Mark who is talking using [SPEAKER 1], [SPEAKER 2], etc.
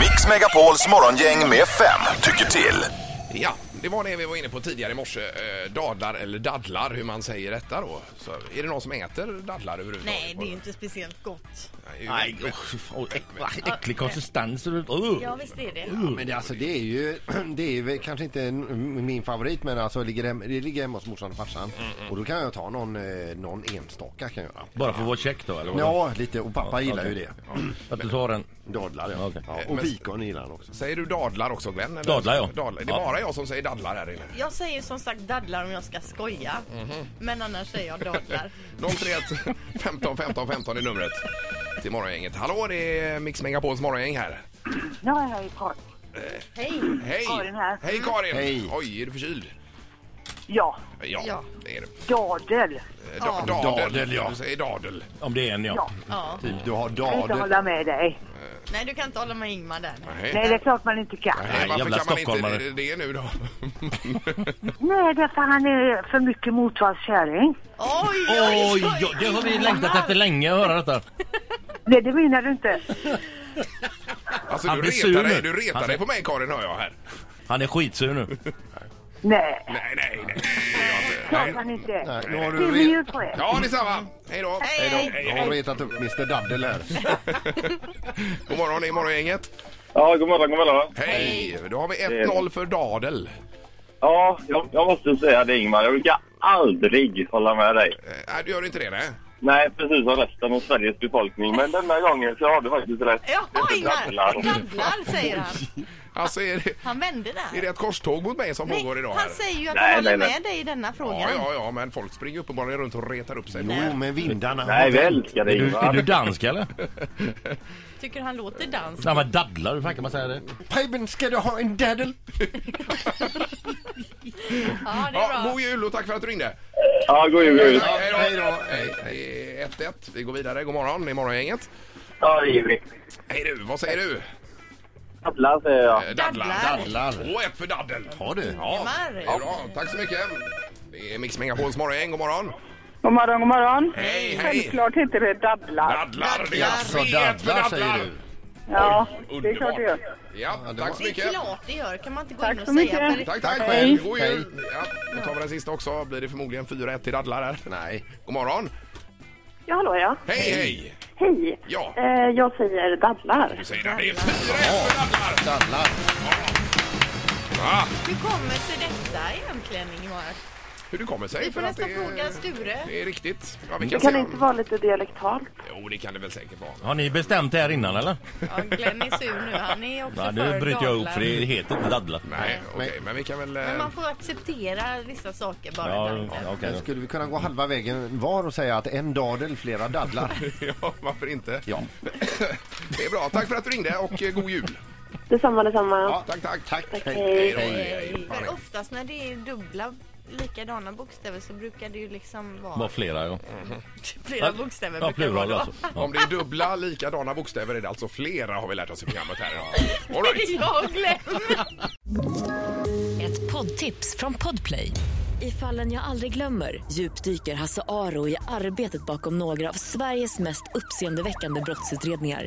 [SPEAKER 1] Mix Megapols morgongäng med fem tycker till.
[SPEAKER 2] Ja, det var det vi var inne på tidigare i morse. Eh, dadlar eller dadlar, hur man säger detta då. Så, är det någon som äter dadlar överhuvudtaget?
[SPEAKER 3] Nej, det är ju inte speciellt gott.
[SPEAKER 2] Nej,
[SPEAKER 4] Nej,
[SPEAKER 2] men-
[SPEAKER 4] usch, och äck- vad äcklig konsistens. Uh.
[SPEAKER 3] Ja, visst är det.
[SPEAKER 5] Men det, alltså, det är ju, det är väl kanske inte en- min favorit men alltså, det, ligger hem, det ligger hemma hos morsan och farsan. Och då kan jag ta någon, eh, någon enstaka kan jag göra.
[SPEAKER 4] Bara för att vara check då eller? vadå?
[SPEAKER 5] Ja, lite. Och pappa gillar ju
[SPEAKER 4] okej.
[SPEAKER 5] det.
[SPEAKER 4] Att du tar en?
[SPEAKER 5] Dadlar ja.
[SPEAKER 4] Okej.
[SPEAKER 5] ja. Och
[SPEAKER 2] Men-
[SPEAKER 5] fikon gillar han också.
[SPEAKER 2] Säger du dadlar också Glenn? eller?
[SPEAKER 4] Dadlar, ja.
[SPEAKER 2] Dadlar. Det är
[SPEAKER 4] Ja.
[SPEAKER 2] bara jag som säger dadlar här inne.
[SPEAKER 3] Jag säger som sagt dadlar om jag ska skoja.
[SPEAKER 2] Mhm.
[SPEAKER 3] Men annars säger jag dadlar.
[SPEAKER 2] 031 15 15 15 är numret till morgongänget. Hallå, det är Mix Megapols morgongäng här.
[SPEAKER 6] Ja, hej Karin.
[SPEAKER 3] Hej!
[SPEAKER 2] Hej!
[SPEAKER 6] Karin här.
[SPEAKER 2] Hej Karin!
[SPEAKER 5] Hej.
[SPEAKER 2] Oj, är du förkyld?
[SPEAKER 6] Ja,
[SPEAKER 2] Ja,
[SPEAKER 3] Ja.
[SPEAKER 2] det är du.
[SPEAKER 6] dadel.
[SPEAKER 2] Eh, da-
[SPEAKER 3] Ja.
[SPEAKER 2] Dadel,
[SPEAKER 5] Dadel, ja.
[SPEAKER 2] Du säger dadel.
[SPEAKER 4] Om det är en ja.
[SPEAKER 6] Ja.
[SPEAKER 3] Ja.
[SPEAKER 5] Typ, du har
[SPEAKER 6] Jag kan inte
[SPEAKER 5] dadel.
[SPEAKER 6] hålla med dig.
[SPEAKER 3] Nej, du kan inte hålla med Ingmar där.
[SPEAKER 6] Nej, det är klart man inte kan.
[SPEAKER 2] Nej, varför
[SPEAKER 4] jävla
[SPEAKER 2] kan man inte
[SPEAKER 4] stockholmare.
[SPEAKER 2] det, det nu då?
[SPEAKER 6] Nej, därför han är för mycket motorkärring.
[SPEAKER 3] Oj, oj,
[SPEAKER 4] Oj, oj, det har vi längtat efter länge att höra detta.
[SPEAKER 6] Nej, det menar du inte.
[SPEAKER 2] Alltså,
[SPEAKER 4] Han
[SPEAKER 2] du
[SPEAKER 4] blir
[SPEAKER 2] retar,
[SPEAKER 4] sur
[SPEAKER 2] dig,
[SPEAKER 4] nu.
[SPEAKER 2] du retar
[SPEAKER 4] Han-
[SPEAKER 2] dig på mig Karin, hör jag här.
[SPEAKER 4] Han är skitsur nu.
[SPEAKER 6] Nej,
[SPEAKER 2] Nej, nej, nej. det gör jag
[SPEAKER 6] klart
[SPEAKER 2] inte. Nej.
[SPEAKER 6] han inte.
[SPEAKER 5] Nej, nu har
[SPEAKER 6] Det är
[SPEAKER 5] du,
[SPEAKER 6] vi ju
[SPEAKER 5] re-
[SPEAKER 6] på er.
[SPEAKER 2] Ja, detsamma. Hej då.
[SPEAKER 3] Hej, hej.
[SPEAKER 5] nu har du retat upp Mr Dadel här.
[SPEAKER 2] God morgon, det är morgongänget.
[SPEAKER 7] Ja, god morgon, god morgon.
[SPEAKER 2] Hej! Då har vi 1-0 för dadel. Eh,
[SPEAKER 7] Ja, jag, jag måste säga det Ingmar, jag brukar aldrig hålla med dig.
[SPEAKER 2] Eh, Nej, du gör inte det, nej.
[SPEAKER 7] Nej, precis som resten av Sveriges befolkning. Men denna gången så har du faktiskt rätt.
[SPEAKER 3] Jaha,
[SPEAKER 7] Det är
[SPEAKER 3] Ingmar!
[SPEAKER 7] dadlar.
[SPEAKER 3] Dadlar säger han.
[SPEAKER 2] Alltså, är det,
[SPEAKER 3] Han vände där.
[SPEAKER 2] är det ett korståg mot mig som pågår idag? här?
[SPEAKER 3] han säger ju att
[SPEAKER 7] Nej,
[SPEAKER 3] han håller
[SPEAKER 7] nej, nej.
[SPEAKER 3] med dig i denna frågan.
[SPEAKER 2] Ja, ja, ja, men folk springer uppenbarligen runt och retar upp sig.
[SPEAKER 5] Jo, men vindarna har
[SPEAKER 7] Nej, vi
[SPEAKER 5] vänt.
[SPEAKER 7] älskar
[SPEAKER 4] Är
[SPEAKER 7] dig
[SPEAKER 4] du, är du
[SPEAKER 7] Ingmar.
[SPEAKER 4] dansk eller?
[SPEAKER 3] Tycker han låter dansk?
[SPEAKER 4] Nej men dadlar, hur fan kan man säga det?
[SPEAKER 5] Preben, ska du ha en dadel?
[SPEAKER 3] Ja, det
[SPEAKER 2] Ja,
[SPEAKER 3] är bra.
[SPEAKER 2] god jul och tack för att du ringde.
[SPEAKER 7] Ja, god jul, god jul.
[SPEAKER 2] Ja, hej då.
[SPEAKER 5] Hej då.
[SPEAKER 2] Hej, hej. 1-1. Vi går vidare. God morgon, det är morgongänget.
[SPEAKER 7] Ja, det är vi.
[SPEAKER 2] Hej du, vad säger du?
[SPEAKER 7] Dadlar säger jag.
[SPEAKER 2] Eh,
[SPEAKER 3] Dadlar.
[SPEAKER 5] Dadlar.
[SPEAKER 2] Och ett för daddel.
[SPEAKER 5] Har du?
[SPEAKER 2] Ja,
[SPEAKER 3] Ingmar.
[SPEAKER 2] ja, bra. Tack så mycket. Det är Mix Megapols morgongäng. God morgon.
[SPEAKER 6] God morgon, god morgon.
[SPEAKER 2] Hej, hej.
[SPEAKER 6] Självklart heter det dadlar.
[SPEAKER 2] Daddlar. Det
[SPEAKER 5] Jaså,
[SPEAKER 2] är tre ett för
[SPEAKER 5] dadlar säger
[SPEAKER 2] daddlar.
[SPEAKER 5] du?
[SPEAKER 6] Ja,
[SPEAKER 2] Underbart.
[SPEAKER 6] det är klart det gör.
[SPEAKER 2] Ja,
[SPEAKER 5] det
[SPEAKER 2] tack
[SPEAKER 5] var-
[SPEAKER 2] så
[SPEAKER 3] Det är
[SPEAKER 2] mycket.
[SPEAKER 3] klart det gör. Kan man inte gå
[SPEAKER 6] Tack
[SPEAKER 3] in och
[SPEAKER 6] så
[SPEAKER 3] säga?
[SPEAKER 6] mycket.
[SPEAKER 2] Tack, tack.
[SPEAKER 5] Tack själv.
[SPEAKER 2] God
[SPEAKER 5] Hej.
[SPEAKER 2] jul. Ja, då tar vi den sista också. Blir det förmodligen 4-1 till daddlar här.
[SPEAKER 5] Nej.
[SPEAKER 2] God morgon.
[SPEAKER 6] Ja, hallå ja.
[SPEAKER 2] Hej, hej.
[SPEAKER 6] Hej.
[SPEAKER 2] Ja.
[SPEAKER 6] Eh, jag säger dadlar.
[SPEAKER 2] Du säger det. Det är 4-1 för daddlar.
[SPEAKER 5] Dadlar.
[SPEAKER 2] Ah,
[SPEAKER 3] Hur kommer sig detta egentligen, Ingmar?
[SPEAKER 2] hur det kommer sig.
[SPEAKER 3] Vi får
[SPEAKER 2] för att
[SPEAKER 3] nästan
[SPEAKER 2] det är-
[SPEAKER 3] fråga Sture.
[SPEAKER 2] Det är riktigt. Ja, vi kan
[SPEAKER 6] Det kan
[SPEAKER 2] se
[SPEAKER 6] inte
[SPEAKER 2] om-
[SPEAKER 6] vara lite dialektalt.
[SPEAKER 2] Jo, det kan det väl säkert vara.
[SPEAKER 4] Har ni bestämt det här innan eller?
[SPEAKER 3] Ja, Glenn är sur nu. Han är också
[SPEAKER 4] Ja,
[SPEAKER 3] för
[SPEAKER 4] nu bryter jag ihop
[SPEAKER 3] dadlar.
[SPEAKER 4] för det heter inte dadlar.
[SPEAKER 2] Nej, okej, men vi kan väl... eh,
[SPEAKER 3] Men man får acceptera vissa saker bara
[SPEAKER 4] Ja,
[SPEAKER 3] ibland.
[SPEAKER 4] ja, okej
[SPEAKER 5] Men
[SPEAKER 4] då.
[SPEAKER 5] skulle vi kunna gå halva vägen var och säga att en dadel, flera dadlar?
[SPEAKER 2] Ja, varför inte?
[SPEAKER 5] Ja.
[SPEAKER 2] Det är bra. Tack för att du ringde och eh, god jul.
[SPEAKER 6] Detsamma, detsamma.
[SPEAKER 2] Ja, tack, tack.
[SPEAKER 5] Tack.
[SPEAKER 2] Hej
[SPEAKER 5] Hej.
[SPEAKER 2] då, hej, hej.
[SPEAKER 3] För oftast när det är dubbla likadana bokstäver så brukar det ju liksom vara
[SPEAKER 4] Bara flera ja.
[SPEAKER 3] flera bokstäver.
[SPEAKER 4] Ja,
[SPEAKER 3] brukar det
[SPEAKER 4] plural
[SPEAKER 3] vara då.
[SPEAKER 4] alltså. Ja.
[SPEAKER 2] Om det är dubbla likadana bokstäver är det alltså flera har vi lärt oss i programmet här idag. All right.
[SPEAKER 3] Ja, Glenn!
[SPEAKER 8] Ett poddtips från Podplay. I fallen jag aldrig glömmer djupdyker Hasse Aro i arbetet bakom några av Sveriges mest uppseendeväckande brottsutredningar.